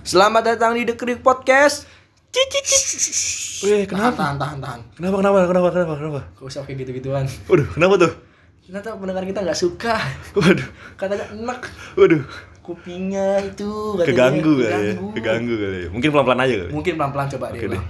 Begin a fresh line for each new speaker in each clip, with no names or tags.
Selamat datang di The Creek Podcast.
Tahan,
Wih, kenapa?
tahan, tahan, tahan.
Kenapa, kenapa, kenapa, kenapa, kenapa?
Gak usah kayak gitu-gituan.
Waduh, kenapa tuh?
Ternyata pendengar kita nggak suka.
Waduh,
Katanya enak
waduh.
kupingnya itu. katanya.
Keganggu kali ya,
Keganggu.
keganggu kali ya. Mungkin pelan-pelan aja kali.
Mungkin ya. pelan-pelan coba
Oke
deh.
deh.
Bang.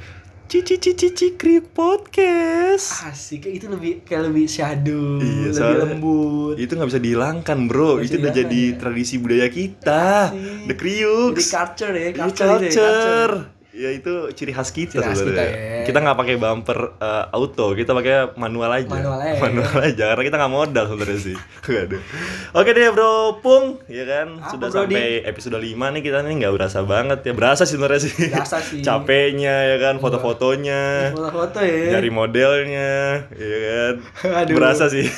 Cici cici cici Creek Podcast.
Asik, kayak itu lebih kayak lebih shadow,
Iya,
lebih
soalnya-
lembut.
Itu nggak bisa dihilangkan, Bro.
Nggak bisa
Itu udah
dihilangkan,
jadi
ya.
tradisi budaya kita.
Asik. Jadi
The Kriux.
culture ya,
Ini
culture, deh,
culture. Ya itu ciri khas kita
Ciri khas
sebenarnya.
kita, ya.
Kita nggak pakai bumper eh, auto, kita pakai manual aja.
Manual aja.
aja, karena kita nggak modal sebenarnya sih. Waduh. Oke deh Bro Pung, ya kan
Apa,
sudah
Bro,
sampai episode 5 nih kita nih nggak berasa banget ya. Berasa sih sebenarnya sih.
Berasa sih. Iya.
Capeknya ya kan, foto-fotonya,
Foto-foto ya.
nyari modelnya, ya kan.
Aduh.
Berasa sih.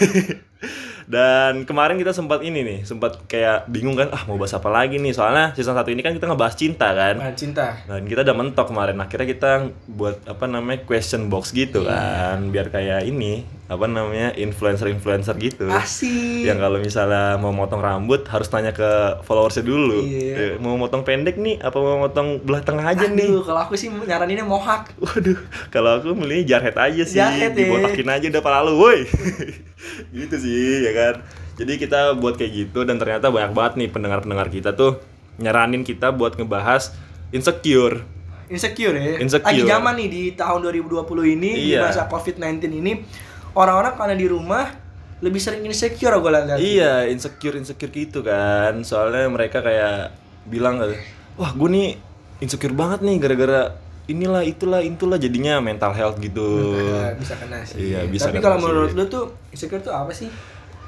Dan kemarin kita sempat ini nih, sempat kayak bingung kan, ah mau bahas apa lagi nih? Soalnya season satu ini kan kita ngebahas cinta kan.
Nah, cinta.
Dan kita udah mentok kemarin. Akhirnya kita buat apa namanya question box gitu
Iya.
kan, biar kayak ini apa namanya influencer-influencer gitu.
Asik.
Yang kalau misalnya mau motong rambut harus tanya ke followersnya dulu.
Iya.
Eh, Mau motong pendek nih, apa mau motong belah tengah aja nih?
Aduh, kalau aku sih nyaraninnya mohak.
Waduh, kalau aku milih jarhead aja sih,
Jarhead, ya.
dibotakin aja udah pala lu, woi. gitu sih, ya kan. Jadi kita buat kayak gitu dan ternyata banyak banget nih pendengar-pendengar kita tuh nyaranin kita buat ngebahas insecure.
insecure ya.
Insecure.
Lagi zaman nih di tahun 2020 ini di
Iya.
masa Covid-19 ini orang-orang karena di rumah lebih sering insecure gue lihat.
Iya, insecure insecure gitu kan. Soalnya mereka kayak bilang kan, wah gue nih insecure banget nih gara-gara inilah itulah itulah jadinya mental health gitu.
Nah, bisa kena sih.
Iya, bisa
Tapi
kena
kalau
sih.
menurut lu tuh insecure tuh apa sih?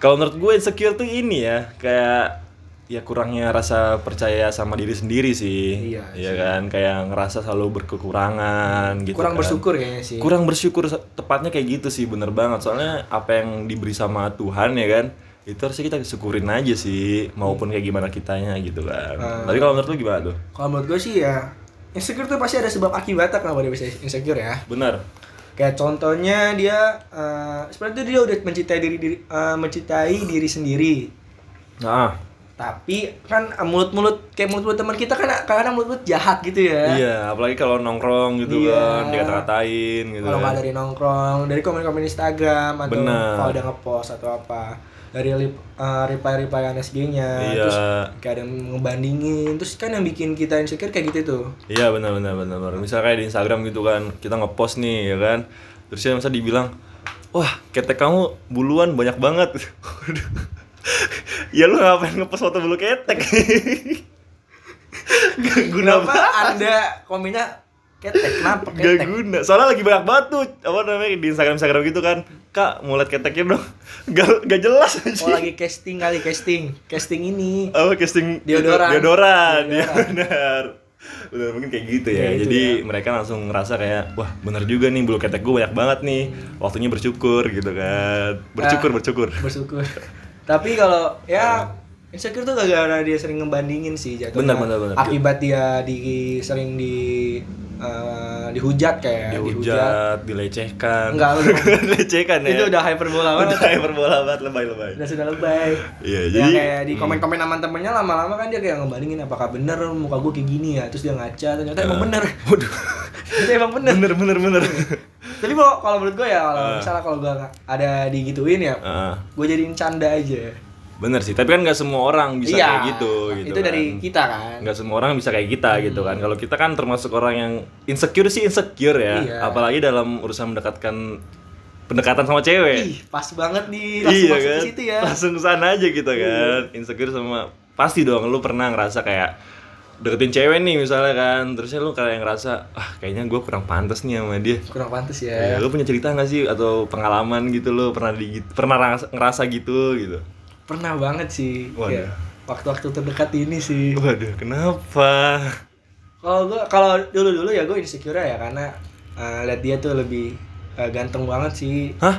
Kalau menurut gue insecure tuh ini ya, kayak ya kurangnya rasa percaya sama diri sendiri sih.
Iya sih.
kan, kayak ngerasa selalu berkekurangan gitu.
Kurang
kan.
bersyukur kayaknya sih.
Kurang bersyukur se- tepatnya kayak gitu sih, bener banget. Soalnya apa yang diberi sama Tuhan ya kan, itu harusnya kita syukurin aja sih, maupun kayak gimana kitanya gitu kan.
Ah.
Tapi kalau menurut lu gimana tuh?
Kalau menurut gue sih ya insecure tuh pasti ada sebab akibatnya kenapa dia bisa insecure ya.
Bener.
Kayak contohnya dia eh, sebenarnya tuh dia udah mencintai diri, diri eh, mencintai diri sendiri.
Nah,
Tapi kan eh, mulut-mulut kayak mulut-mulut teman kita kan kadang mulut-mulut jahat gitu ya.
iya, apalagi kalau nongkrong gitu
Iya.
kan, dikata-katain gitu.
kalau
kan.
nggak dari nongkrong dari komen-komen Instagram atau
Benar.
kalau udah ngepost atau apa dari eh, reply reply SG-nya
Iya.
terus kayak ada yang ngebandingin terus kan yang bikin kita insecure kayak gitu tuh
Iya benar benar benar benar. Misal kayak di Instagram gitu kan, kita ngepost nih ya kan. Terus ya masa dibilang, "Wah, ketek kamu buluan banyak banget." Waduh. ya lu ngapain ngepost foto bulu ketek? Gak guna
kenapa
banget.
anda komennya ketek kenapa
Gak
ketek
guna. Soalnya lagi banyak banget tuh apa namanya di Instagram Instagram gitu kan. Kak, mulet keteknya dong. Gak, gak jelas
oh
aja.
lagi casting kali casting casting ini
apa casting
Deodoran.
deodoran ya
Deodoran.
benar benar mungkin kayak gitu ya,
Kayak gitu
jadi mereka langsung ngerasa kayak wah bener juga nih bulu ketek gue banyak banget nih waktunya bersyukur gitu kan bersyukur
Ah.
bersyukur
bersyukur tapi kalau ya
Iya.
insecure tuh gara-gara dia sering ngebandingin sih jatuhnya
Benar, benar, benar.
akibat dia di sering di eh, dihujat kayak
dihujat dilecehkan
Enggak, lu-
dilecehkan ya
itu Kan udah hyperbola banget
udah hyperbola banget lebay lebay
udah sudah lebay
Iya,
Ya,
jadi-
kayak di komen-komen sama temennya lama-lama kan dia kayak ngebandingin apakah bener muka gue kayak gini ya terus dia ngaca ternyata emang bener
waduh
itu emang bener
bener bener bener
tapi kalau kalau menurut gue ya kalau misalnya kalau gue ada digituin ya
Ah,
gue jadiin canda aja
bener sih tapi kan nggak semua orang bisa
Iya,
kayak gitu gitu
itu dari
kan.
kita kan
nggak semua orang bisa kayak kita gitu kan
Hmm.
kalau kita kan termasuk orang yang insecure sih insecure ya
Iya.
apalagi dalam urusan mendekatkan pendekatan sama cewek
ih pas banget nih langsung masuk
kan
ke situ ya Iya.
langsung kesana aja gitu kan insecure sama pasti dong lu pernah ngerasa kayak deketin cewek nih misalnya kan terusnya lu kayak ngerasa ah kayaknya gue kurang pantas nih sama dia
kurang pantas ya
Ya, lu punya cerita nggak sih atau pengalaman gitu lo pernah di pernah ngerasa, ngerasa gitu gitu
pernah banget sih
Waduh.
ya, waktu-waktu terdekat ini sih
waduh kenapa
kalau gua kalau dulu dulu ya gue insecure ya karena eh, lihat dia tuh lebih eh, ganteng banget sih
hah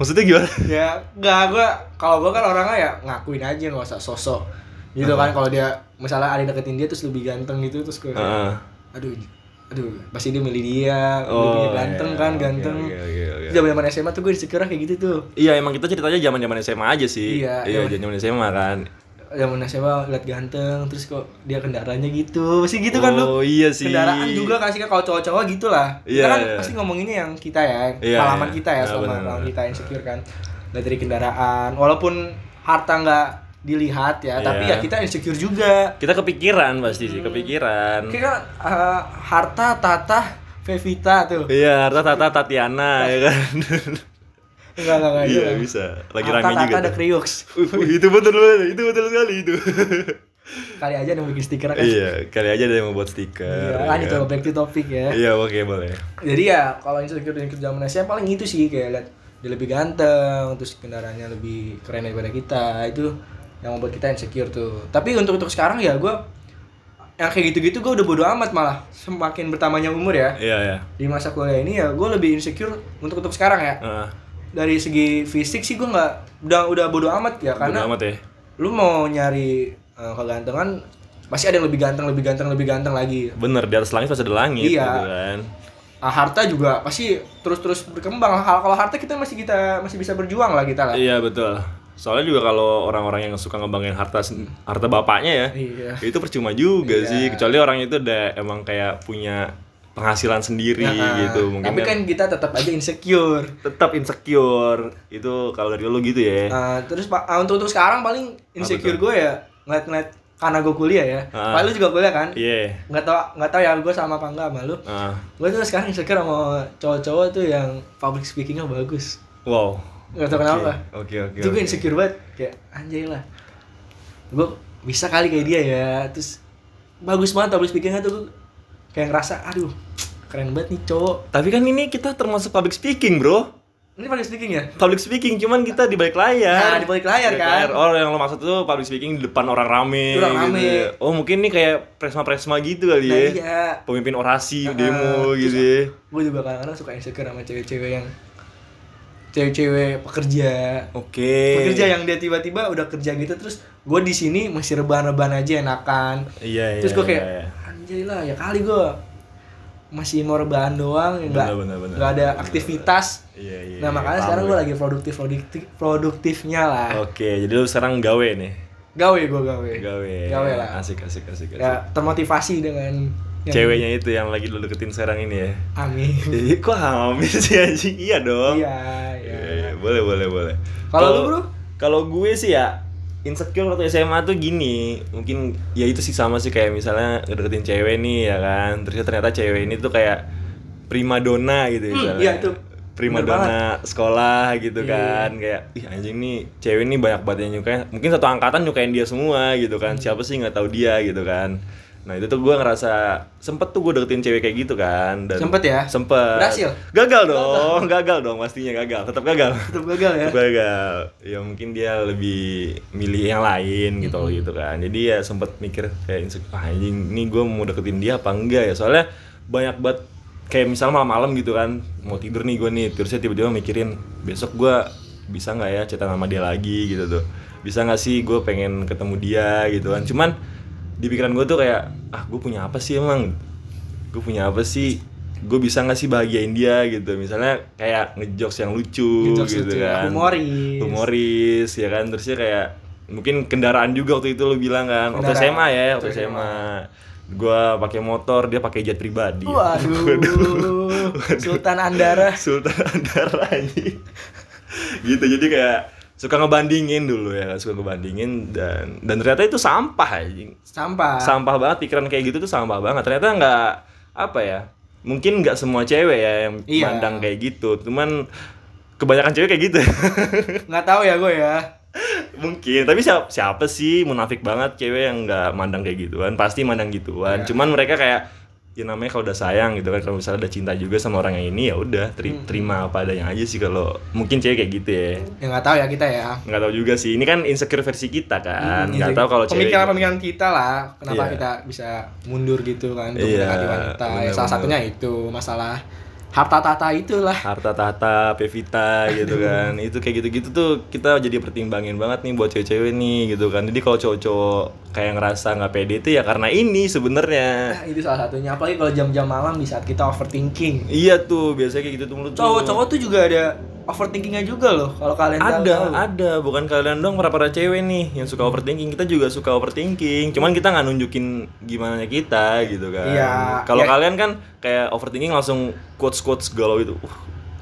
maksudnya gimana
ya nggak gue kalau gue kan orangnya ya ngakuin aja nggak usah sosok gitu kan kalau dia misalnya ada yang deketin dia terus lebih ganteng gitu terus gue
Heeh.
aduh aduh pasti dia milih dia
Oh,
lebih ganteng
iya.
kan
Oke,
ganteng
oke, oke, oke.
Terus zaman zaman SMA tuh gue insecure kayak gitu tuh
Iya emang kita ceritanya zaman zaman SMA aja sih.
Iya,
iya
iya.
zaman zaman SMA kan.
yang Nasional lihat ganteng terus kok dia kendaraannya gitu pasti gitu kan lu
Oh, iya sih.
kendaraan juga kan? kasih kalau cowok-cowok gitu lah kita
Iya,
kan
iya.
pasti ngomonginnya yang kita ya
Iya,
pengalaman
iya.
kita ya
Iya,
selama
benar,
pengalaman
benar.
kita insecure kan Lihat dari kendaraan walaupun harta nggak dilihat ya tapi ya
Iya.
kita insecure juga
Kita kepikiran pasti
Hmm.
sih, kepikiran.
kayak kan eh, harta tata Fevita tuh
Iya, Tata Tata Tatiana ya kan.
enggak enggak enggak
Iya,
gitu.
bisa. Lagi
Harta
rame juga.
tata ada
tuh.
kriuks
Wih, wih, itu betul banget, itu betul sekali itu.
kali aja ada yang bikin stiker kan
iya, kali aja ada yang mau buat stiker.
Iya,
ya
lanjut
kan?
coba back to topic ya.
Iya, oke boleh.
Jadi ya kalau insecure insecure zaman SMA paling itu sih kayak lihat dia lebih ganteng, terus kendaraannya lebih keren daripada kita. Itu yang membuat kita insecure tuh. Tapi untuk untuk sekarang ya gue yang kayak gitu-gitu gue udah bodo amat malah semakin bertambahnya umur ya
Iya, ya.
di masa kuliah ini ya gue lebih insecure untuk untuk sekarang ya
Heeh.
dari segi fisik sih gue nggak udah udah bodo amat ya
Bodo
karena
amat ya.
lu mau nyari eh, kegantengan pasti ada yang lebih ganteng lebih ganteng lebih ganteng lagi
Bener, di atas langit pasti ada langit
Iya.
gitu kan.
Ah, harta juga pasti terus-terus berkembang. Hal kalau harta kita masih kita masih bisa berjuang lah kita lah.
Iya, betul. Soalnya juga kalau orang-orang yang suka ngebanggain harta sen- harta bapaknya ya,
Iya.
itu percuma juga
Iya.
sih. Kecuali orang itu udah emang kayak punya penghasilan sendiri
Nah,
gitu, mungkin
Tapi
kan
kan kita tetap aja insecure.
tetap insecure. Itu kalau dari lu gitu ya.
Nah, terus Pak ah, untuk untuk sekarang paling insecure gue ya ngeliat-ngeliat karena gue kuliah ya.
Ah.
Paling lu juga kuliah kan?
Iya.
Nggak tau nggak tau ya gue sama apa enggak sama lu.
Ah.
Gue tuh sekarang insecure sama cowok-cowok tuh yang public speakingnya bagus.
Wow.
Nggak tau kenapa.
Oke,
itu
oke.
gue
oke.
insecure banget kayak anjay lah gue bisa kali kayak dia ya terus bagus banget public speakingnya tuh gue kayak ngerasa aduh keren banget nih cowok
Tapi kan ini kita termasuk public speaking, Bro.
ini public speaking ya
Public speaking cuman kita di balik layar.
Nah, di balik layar,
Di
kan.
Oh, yang lo maksud tuh public speaking di depan orang rame.
Di orang rame.
gitu. Oh, mungkin ini kayak presma-presma gitu kali
nah
ya.
iya
Pemimpin orasi,
Heeh.
demo
Ah, Terus-
gitu ya.
gue juga kadang-kadang suka insecure sama cewek-cewek yang cewek-cewek pekerja
Oke.
pekerja ya? yang dia tiba-tiba udah kerja gitu terus gue di sini masih rebahan-rebahan aja enakan
Iya, iya.
terus gue kayak
iya, iya.
anjay lah ya kali gue masih mau rebahan doang ya nggak
bener, bener.
nggak ada aktivitas
Iya, iya.
nah makanya
paham Oh.
sekarang gue lagi produktif produktif produktifnya lah
Oke, jadi lu sekarang gawe nih.
gawe gue gawe
Gawe.
Gawe lah.
Asik, asik, asik, asik.
ya termotivasi dengan yang-
Ceweknya itu yang lagi lu deketin sekarang ini ya.
amin
Jadi kok hamil sih anjing? Iya dong.
iya
Iya,
iya
iya, boleh boleh boleh.
Kalau lu, Bro?
Kalau gue sih ya insecure waktu SMA tuh gini, mungkin ya itu sih sama sih kayak misalnya deketin cewek nih ya kan, terus ternyata cewek ini tuh kayak primadona gitu
Hmm,
misalnya.
iya, itu
primadona sekolah gitu
Iya.
kan kayak ih anjing nih cewek nih banyak banget yang nyukain mungkin satu angkatan nyukain dia semua gitu kan
Hmm.
siapa sih nggak tahu dia gitu kan nah itu tuh gue ngerasa sempet tuh gue deketin cewek kayak gitu kan dan
Sempet ya?
sempet
Berhasil?
gagal dong gagal dong pastinya gagal tetap gagal
tetap gagal ya
Tetep gagal ya mungkin dia lebih milih yang lain gitu gitu kan jadi ya sempet mikir kayak insecure "Ah, anjing ini gue mau deketin dia apa enggak ya soalnya banyak banget kayak misalnya malam-malam gitu kan mau tidur nih gue nih terusnya tiba-tiba mikirin besok gue bisa nggak ya cetak sama dia lagi gitu tuh bisa nggak sih gue pengen ketemu dia gitu kan cuman di pikiran gue tuh kayak ah gue punya apa sih emang gue punya apa sih gue bisa nggak sih bahagiain dia gitu misalnya kayak ngejokes yang lucu
Ngejokes
gitu
lucu,
kan
humoris.
humoris ya kan terusnya kayak mungkin kendaraan juga waktu itu lo bilang kan waktu
Kendaraan.
SMA ya waktu
Waktu
SMA, gue pakai motor dia pakai jet pribadi
waduh Sultan Andara
Sultan Andara ini gitu jadi kayak suka ngebandingin dulu ya kan, suka ngebandingin dan dan ternyata itu sampah anjing
sampah
sampah banget pikiran kayak gitu tuh sampah banget ternyata nggak apa ya mungkin nggak semua cewek ya yang
Iya.
mandang kayak gitu cuman kebanyakan cewek kayak gitu
nggak tahu ya gue ya
mungkin tapi siapa siapa sih munafik banget cewek yang nggak mandang kayak gituan pasti mandang gituan
Iya.
cuman mereka kayak ya namanya kalau udah sayang gitu kan kalau misalnya udah cinta juga sama orang yang ini ya udah teri- terima apa adanya aja sih kalau mungkin cewek kayak gitu ya
ya nggak tahu ya kita ya Hmm, iya
nggak tahu juga sih ini kan insecure versi kita kan nggak tahu kalau cewek
pemikiran-pemikiran kita lah kenapa
Iya.
kita bisa mundur gitu kan untuk
Iya,
mendekati wanita Ya,
benar-benar.
salah satunya itu masalah harta tata itulah
harta tahta pevita gitu kan itu kayak gitu-gitu tuh kita jadi pertimbangin banget nih buat cewek-cewek nih gitu kan jadi kalau cowok-cowok kayak ngerasa nggak pede itu ya karena ini
Nah,
sebenarnya
itu salah satunya apalagi kalau jam-jam malam di saat kita overthinking
iya tuh biasanya kayak gitu tuh menurut
cowok-cowok tuh juga ada overthinkingnya juga loh kalau kalian tahu-
ada
tahu.
ada bukan kalian dong para para cewek nih yang suka overthinking kita juga suka overthinking cuman kita nggak nunjukin gimana kita gitu kan
Iya.
kalau
Ya.
kalian kan kayak overthinking langsung quotes quotes galau itu "Uh,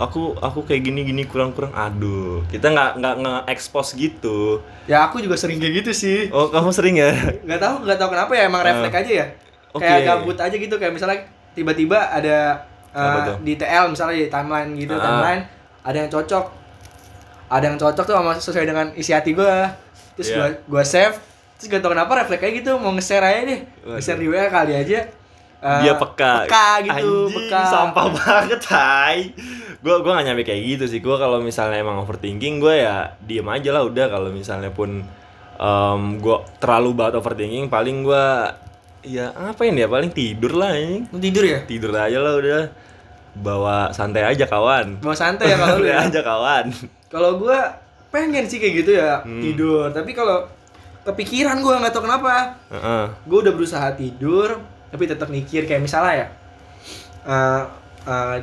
aku aku kayak gini gini kurang kurang aduh kita nggak nggak nggak expose gitu
ya aku juga sering kayak gitu sih
oh kamu sering ya
nggak tahu nggak tahu kenapa ya emang refleks aja ya
oke.
kayak gabut aja gitu kayak misalnya tiba-tiba ada eh,
Apa tuh?
di TL misalnya di timeline gitu
Ah.
timeline ada yang cocok ada yang cocok tuh sama sesuai dengan isi hati gua terus
Iya.
gua gua save terus gak tau kenapa refleks kayak gitu mau nge-share aja deh
Waduh.
nge-share di WA kali aja Eh,
dia peka
gitu
Anjing,
peka
sampah banget hai gue gua gak nyampe kayak gitu sih gue kalau misalnya emang overthinking gue ya diem aja lah udah kalau misalnya pun em gue terlalu banget overthinking paling gue ya ngapain ya paling tidur lah ini
Lu tidur ya
tidur aja lah udah bawa santai aja kawan
mau santai ya kalau lu
santai
ya
aja kawan
Kalau gua pengen sih kayak gitu ya
Hmm.
tidur, tapi kalau kepikiran gua nggak tahu kenapa.
Heeh.
Gua udah berusaha tidur, tapi tetap mikir kayak misalnya ya eh, eh,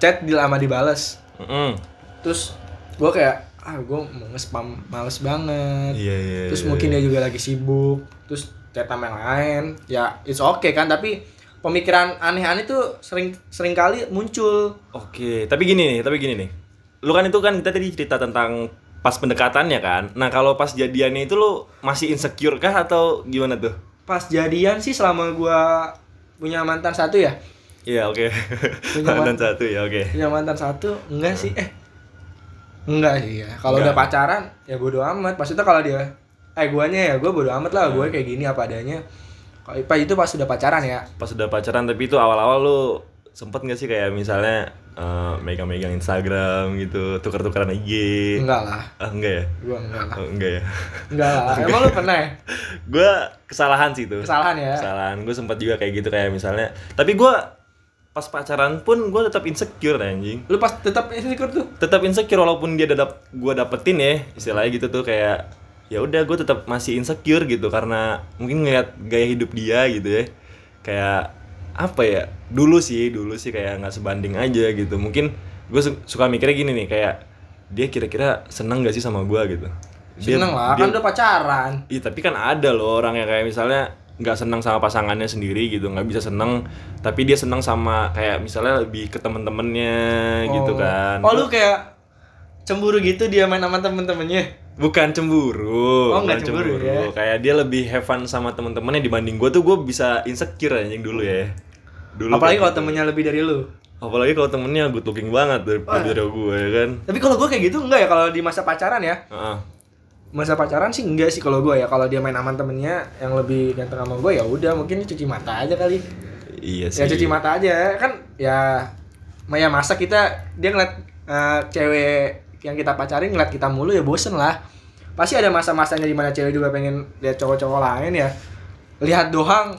chat di lama dibales,
Heeh.
terus gua kayak ah gua mau nge-spam males banget.
iya iya
Terus
iya,
mungkin
iya.
dia juga lagi sibuk, terus chat sama yang lain. Ya it's okay kan, tapi pemikiran aneh-aneh tuh sering sering kali muncul.
Oke, tapi gini nih, tapi gini nih. Lu kan itu kan kita tadi cerita tentang pas pendekatannya kan. Nah, kalau pas jadiannya itu lu masih insecure kah atau gimana tuh?
Pas jadian sih selama gua punya mantan satu ya,
Iya, oke.
Punya
Dan
mantan.
satu ya, oke.
punya mantan satu enggak sih eh enggak sih ya kalau
Enggak.
udah pacaran ya bodo amat maksudnya kalau dia eh guanya ya gue bodo amat lah gue kayak gini apa adanya kalau Ipa itu pas udah pacaran ya
Pas udah pacaran tapi itu awal-awal lu sempet gak sih kayak misalnya eh, megang-megang Instagram gitu, tukar-tukaran IG?
enggak lah
Ah, enggak ya?
gue enggak lah
Oh, enggak ya.
enggak lah emang lu pernah ya
gua kesalahan sih itu.
kesalahan ya
kesalahan gue sempat juga kayak gitu kayak misalnya tapi gua pas pacaran pun gua tetap insecure anjing
lu pas tetap insecure tuh
tetap insecure walaupun dia dadap gue dapetin ya istilahnya gitu tuh kayak ya udah gue tetap masih insecure gitu karena mungkin ngeliat gaya hidup dia gitu ya kayak apa ya dulu sih dulu sih kayak nggak sebanding aja gitu mungkin gue suka mikirnya gini nih kayak dia kira-kira seneng gak sih sama gue gitu Dia-
seneng lah kan
dia-
udah pacaran
Iya tapi kan ada loh orang yang kayak misalnya nggak senang sama pasangannya sendiri gitu nggak bisa senang tapi dia senang sama kayak misalnya lebih ke temen-temennya gitu
Oh.
kan
oh lu kayak cemburu gitu dia main sama temen-temennya
bukan cemburu
Oh, nggak
bukan
cemburu, ya.
kayak dia lebih have fun sama temen-temennya dibanding gue tuh gue bisa insecure anjing dulu ya dulu
apalagi
kayak
kalau temennya lebih dari lu
gitu. apalagi kalau temennya good looking banget dari dari gue ya kan
tapi kalau gue kayak gitu enggak ya kalau di masa pacaran ya
Heeh.
masa pacaran sih enggak sih kalau gue ya kalau dia main aman temennya yang lebih ganteng sama gue ya udah mungkin dia cuci mata aja kali
iya sih
ya cuci mata aja kan ya ma- ya masa kita dia ngeliat eh, cewek yang kita pacarin ngeliat kita mulu ya bosen lah pasti ada masa-masanya dimana cewek juga pengen lihat cowok-cowok lain ya lihat doang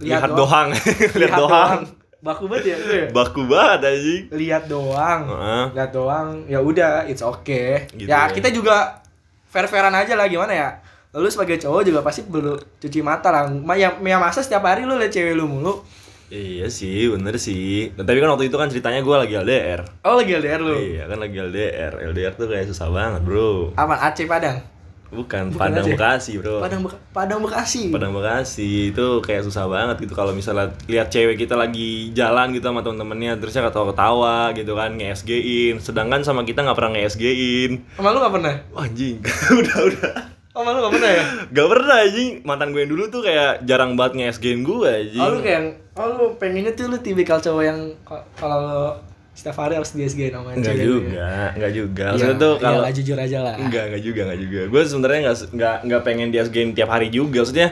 lihat, doang lihat doang
baku banget ya lu ya
baku banget anjing
lihat doang
Heeh.
lihat doang ya udah it's okay
Gitu
ya,
ya.
kita juga fair fairan aja lah gimana ya lu sebagai cowok juga pasti perlu cuci mata lah Ma- ya, ya masa setiap hari lu liat cewek lu mulu
Iya sih, bener sih. Nah, tapi kan waktu itu kan ceritanya gue lagi LDR.
oh lagi LDR lu
Iya kan lagi LDR. LDR tuh kayak susah banget bro.
aman Aceh Padang
Bukan,
Bukan
Padang
aja.
Bekasi bro.
Padang Beka- Padang Bekasi
Padang Bekasi itu kayak susah banget gitu kalau misalnya lihat cewek kita lagi jalan gitu sama temen-temennya terusnya ketawa-ketawa gitu kan nge-SG-in sedangkan sama kita nggak pernah nge-SG-in
sama lu gak pernah
Wah, anjing udah udah
sama lu gak pernah ya
gak pernah anjing mantan gue yang dulu tuh kayak jarang banget nge-SG-in gue anjing
oh lu kayak yang- oh lu pengennya tuh lu tipikal cowok yang ko- kalau lu setiap hari harus di SG namanya
Enggak
ya?
juga, enggak juga. Maksudnya tuh kalau
kalau jujur aja Iya, lah
Enggak, enggak juga, enggak juga. Gue sebenarnya enggak enggak enggak pengen dia SG-in tiap hari juga. Maksudnya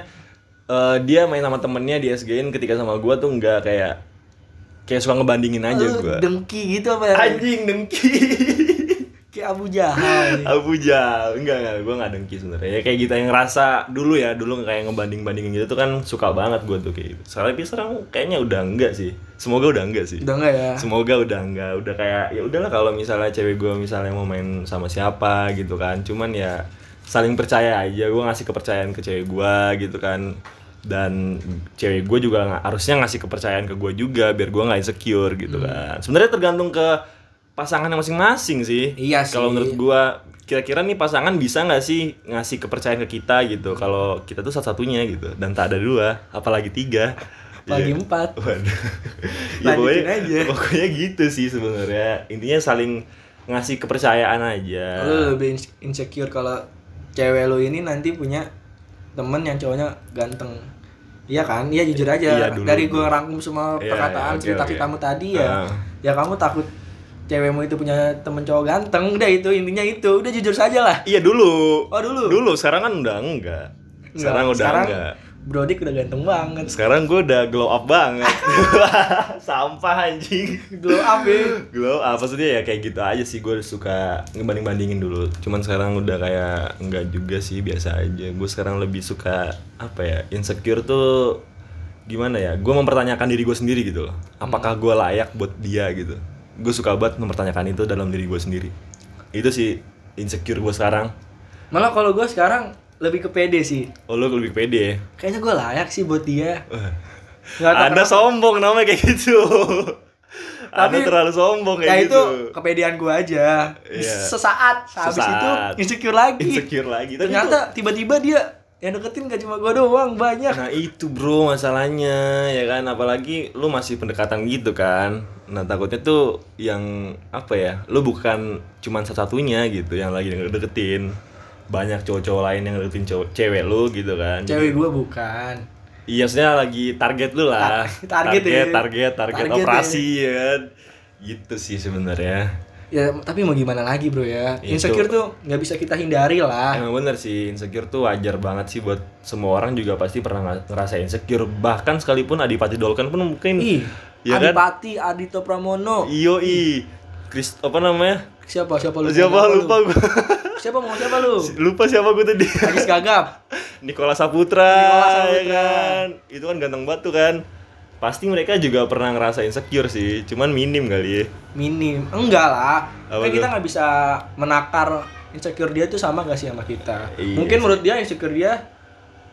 eh, dia main sama temennya dia SG-in ketika sama gue tuh enggak kayak kayak suka ngebandingin aja
lu
gue.
dengki gitu apa ya
Anjing dengki.
kayak Abu Jahal
Abu Jahal. Enggak, enggak, gue enggak dengki sebenarnya. Ya kayak gitu yang ngerasa dulu ya, dulu kayak ngebanding-bandingin gitu tuh kan suka banget gue tuh kayak gitu. Sekarang tapi sekarang kayaknya udah enggak sih. Semoga udah enggak sih.
udah enggak ya
Semoga udah enggak, udah kayak ya udahlah kalau misalnya cewek gue misalnya mau main sama siapa gitu kan. Cuman ya saling percaya aja gue ngasih kepercayaan ke cewek gue gitu kan dan cewek gue juga nga- harusnya ngasih kepercayaan ke gue juga biar gue nggak insecure gitu
Hmm.
kan sebenarnya tergantung ke pasangan yang masing-masing sih
Iya sih.
kalau menurut gue kira-kira nih pasangan bisa nggak sih ngasih kepercayaan ke kita gitu kalau kita tuh satu-satunya gitu dan tak ada dua apalagi tiga
Apalagi
Iya.
empat.
Waduh. ya,
Lanjutin
pokoknya,
aja.
pokoknya gitu sih sebenarnya. Intinya saling ngasih kepercayaan aja.
Lu lebih inse- insecure kalau cewek lu ini nanti punya temen yang cowoknya ganteng. Iya kan? Iya jujur aja.
Iya, dulu.
Dari gue rangkum semua
Iya,
perkataan
iya, oke,
cerita
oke.
ceritamu tadi ya.
Ah.
Ya kamu takut cewekmu itu punya temen cowok ganteng. Udah itu intinya itu. Udah jujur saja lah.
Iya dulu.
Oh, dulu?
Dulu sekarang kan udah enggak. Sekarang udah enggak.
Brodik udah ganteng banget.
Sekarang gue udah glow up banget. Sampah anjing.
Glow up ya.
Glow up maksudnya ya kayak gitu aja sih gue suka ngebanding-bandingin dulu. Cuman sekarang udah kayak enggak juga sih biasa aja. Gue sekarang lebih suka apa ya? Insecure tuh gimana ya? Gue mempertanyakan diri gue sendiri gitu loh. Apakah gue layak buat dia gitu? Gue suka banget mempertanyakan itu dalam diri gue sendiri. Itu sih insecure gue sekarang.
Malah kalau gue sekarang lebih ke pede sih.
Oh lu lebih pede ya?
Kayaknya gue layak sih buat dia. Nggak tahu
Anda sombong namanya kayak gitu. Anda
Tapi-
terlalu sombong
ya
kayak
itu
gitu.
kepedean gue aja
Iya.
sesaat habis itu
Sesaat.
insecure lagi
Insecure lagi. Tapi
ternyata tiba-tiba dia yang deketin gak cuma gue doang banyak
Nah itu bro masalahnya ya kan apalagi lu masih pendekatan gitu kan. Nah takutnya tuh yang apa ya? Lu bukan cuman satu-satunya gitu yang lagi deketin. Banyak cowok-cowok lain yang deketin cowok cewek lu gitu kan. Jadi-
cewek gue bukan
Iya maksudnya lagi target lu lah.
Tar- target
target,
ya.
target, target
Target ya.
operasi ya kan. Gitu sih sebenarnya.
ya tapi mau gimana lagi bro ya
Itu.
insecure tuh nggak bisa kita hindari lah
Emang bener sih, insecure tuh wajar banget sih buat semua orang juga pasti pernah nga- ngerasa insecure. Bahkan sekalipun Adipati Dolken pun mungkin
ih
ya kan? Iya.
Adipati Adito Pramono
Iyo i, Chris apa namanya?
siapa siapa lu
siapa lupa
lu?
gue,
siapa mau siapa lu
lupa siapa gue tadi.
Agis gagap
Nikola Saputra,
Nikola
ya
Saputra.
kan? Itu kan ganteng banget tuh kan. Pasti mereka juga pernah ngerasa insecure sih, cuman minim kali ya.
minim enggak lah kan
Apa tuh?
kita nggak bisa menakar insecure dia tuh sama gak sih sama kita
Iya
mungkin menurut dia insecure dia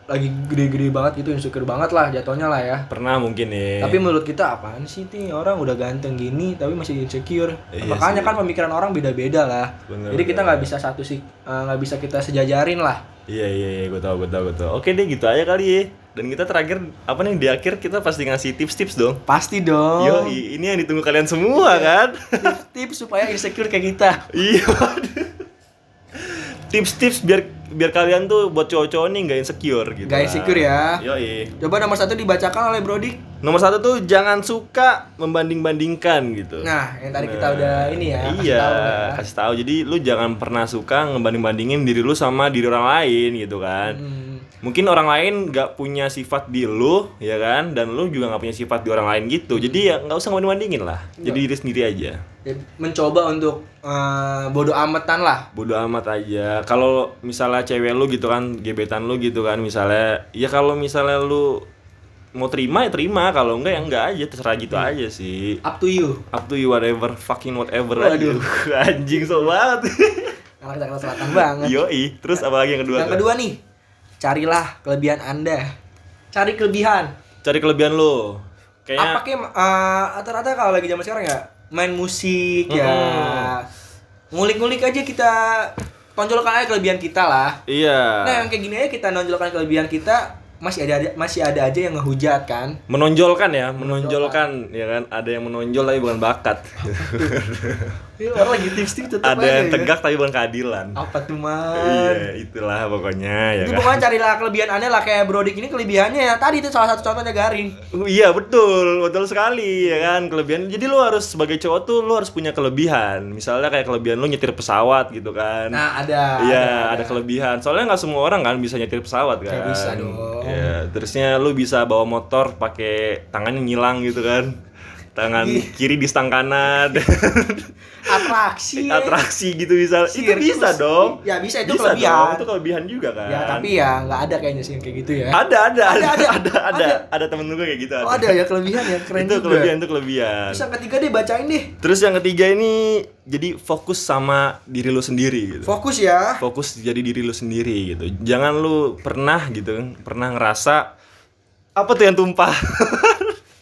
lagi gede-gede banget gitu insecure banget lah jatuhnya lah ya
Pernah mungkin ya.
tapi menurut kita apaan sih nih orang udah ganteng gini tapi masih insecure
Iya
makanya
sih.
kan pemikiran orang beda-beda lah
Bener,
jadi kita
bener.
nggak bisa satu sih eh, nggak bisa kita sejajarin lah
Iya iya iya, gue tau gue tau gue tau. Oke deh gitu aja kali ya. Dan kita terakhir apa nih di akhir kita pasti ngasih tips-tips dong.
pasti dong
Yo, ini yang ditunggu kalian
Iya.
semua kan?
tips, tips supaya insecure kayak kita
Iya. aduh. Tips-tips biar biar kalian tuh buat cowok-cowok nih nggak insecure gitu.
Nggak
lah.
insecure ya.
Yoi.
coba nomor satu dibacakan oleh Brody
Nomor satu tuh jangan suka membanding-bandingkan gitu.
nah yang tadi kita
Nah,
udah ini ya kasih
iya,
tahu ya.
kasih tahu. Jadi lu jangan pernah suka ngebanding-bandingin diri lu sama diri orang lain gitu kan.
Hmm.
Mungkin orang lain nggak punya sifat di lu, ya kan? Dan lu juga nggak punya sifat di orang lain gitu. Jadi ya nggak usah ngebanding-bandingin lah. Jadi
Iya.
diri sendiri aja.
Ya, mencoba untuk eh, bodo amatan lah
bodo amat aja kalau misalnya cewek lu gitu kan gebetan lu gitu kan misalnya ya kalau misalnya lu mau terima ya terima kalau enggak ya enggak aja terserah gitu
Iya.
aja sih
up to you
up to you whatever fucking whatever
Waduh.
aja. anjing so banget
anak Jakarta Selatan
Iya
banget
yoi terus apa lagi yang kedua
yang
tuh?
kedua nih carilah kelebihan anda cari kelebihan
cari kelebihan lu kayaknya
apa kayak eh, rata-rata kalau lagi zaman sekarang ya main musik ya ngulik-ngulik aja kita tonjolkan aja kelebihan kita lah
iya
nah yang kayak gini aja kita nonjolkan kelebihan kita masih ada, ada masih ada aja yang ngehujat kan
menonjolkan ya menonjolkan ya kan ada yang menonjol tapi bukan bakat
Ini orang lagi tips-tips tetap
Iya. ada yang
ya.
tegak tapi bukan keadilan
apa tuh man
iya itulah pokoknya ya
Jadi
kan
pokoknya carilah kelebihan aneh lah kayak Brodik ini kelebihannya ya tadi itu salah satu contohnya garing.
Uh, Iya betul, betul sekali ya kan kelebihan. Jadi lu harus sebagai cowok tuh lu harus punya kelebihan. Misalnya kayak kelebihan lu nyetir pesawat gitu kan.
Nah ada.
Iya, ada, kelebihan. Soalnya nggak semua orang kan bisa nyetir pesawat kan.
Nggak bisa dong.
Iya, terusnya lu bisa bawa motor pakai tangannya nyilang gitu kan. tangan kiri di stang kanan
atraksi
atraksi gitu bisa itu
Sirkus.
bisa dong
Iya. Ya, bisa, itu
bisa
kelebihan.
dong, itu kelebihan juga kan
ya tapi ya nggak ada kayaknya sih yang kayak gitu ya
ada ada ada
Ada,
ada
ada,
ada ada,
ada.
temen gue kayak gitu
oh ada ya kelebihan ya keren
itu
juga
kelebihan itu kelebihan
terus yang ketiga deh bacain deh
terus yang ketiga ini jadi fokus sama diri lu sendiri gitu
fokus ya
fokus jadi diri lu sendiri gitu jangan lu pernah gitu pernah ngerasa apa tuh yang tumpah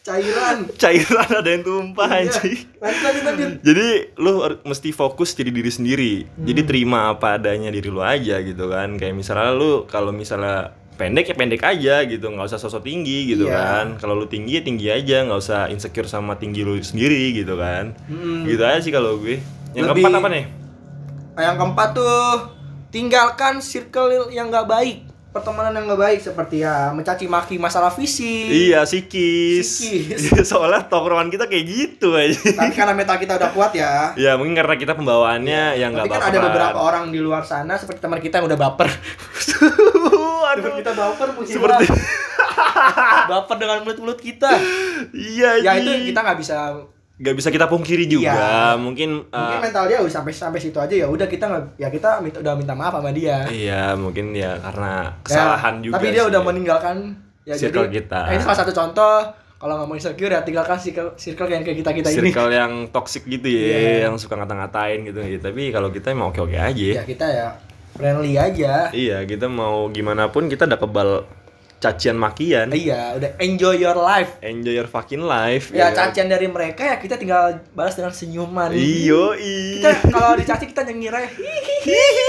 cairan
cairan ada yang tumpah
Iya.
anjing
lanjut lanjut lanjut
jadi lu har- mesti fokus jadi diri sendiri jadi
Hmm.
terima apa adanya diri lu aja gitu kan kayak misalnya lu kalau misalnya pendek ya pendek aja gitu nggak usah sosok tinggi gitu
Iya.
kan kalau lu tinggi ya tinggi aja nggak usah insecure sama tinggi lu sendiri gitu kan
Hmm.
gitu aja sih kalau gue yang
Lebih-
keempat apa nih
Nah, yang keempat tuh tinggalkan circle yang nggak baik pertemanan yang nggak baik seperti ya mencaci maki masalah visi
iya psikis,
Psikis.
soalnya tongkrongan kita kayak gitu aja
tapi karena mental kita udah kuat ya
ya mungkin karena kita pembawaannya yang nggak
tapi kan ada
baperan.
beberapa orang di luar sana seperti teman kita yang udah baper
Aduh,
teman kita baper musibah
seperti
baper dengan mulut-mulut kita
iya
ya
Ji.
itu kita nggak bisa
nggak bisa kita pungkiri juga
Iya.
mungkin
mungkin
uh,
mental dia udah sampai sampai situ aja ya udah kita nggak ya kita minta, udah minta maaf sama dia
iya mungkin ya karena kesalahan
Ya,
juga
tapi dia
sih.
udah meninggalkan ya
Circle
jadi
kita.
nah, ini salah satu contoh kalau nggak mau insecure ya tinggalkan circle circle yang kayak kita kita ini
circle yang toxic gitu ya
Iya.
yang suka ngata-ngatain gitu ya tapi kalau kita emang oke-oke aja
ya kita ya friendly aja
iya kita mau gimana pun kita udah kebal cacian makian
iya udah enjoy your life
enjoy your fucking life
ya
kan?
cacian dari mereka ya kita tinggal balas dengan senyuman
iyo i
kita kalau dicaci kita nyengir aja "Hihihi,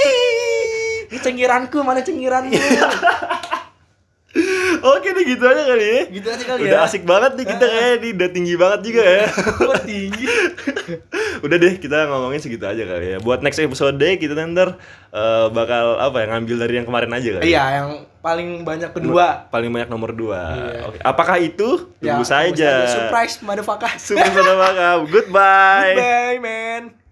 ini cengiranku mana cengiranmu
oke deh gitu aja kali ya
gitu aja kali
udah
ya
asik banget nih kita kayaknya nih udah tinggi banget juga ya
Wah, tinggi
udah deh kita ngomongin segitu aja kali ya buat next episode kita ntar eh, bakal apa ya ngambil dari yang kemarin aja kali ya?
Iya, yang paling banyak kedua.
paling banyak nomor dua
Iya.
Oke. apakah itu
Ya,
tunggu saja
Surprise, motherfucker.
Surprise, motherfucker. goodbye
Goodbye, man.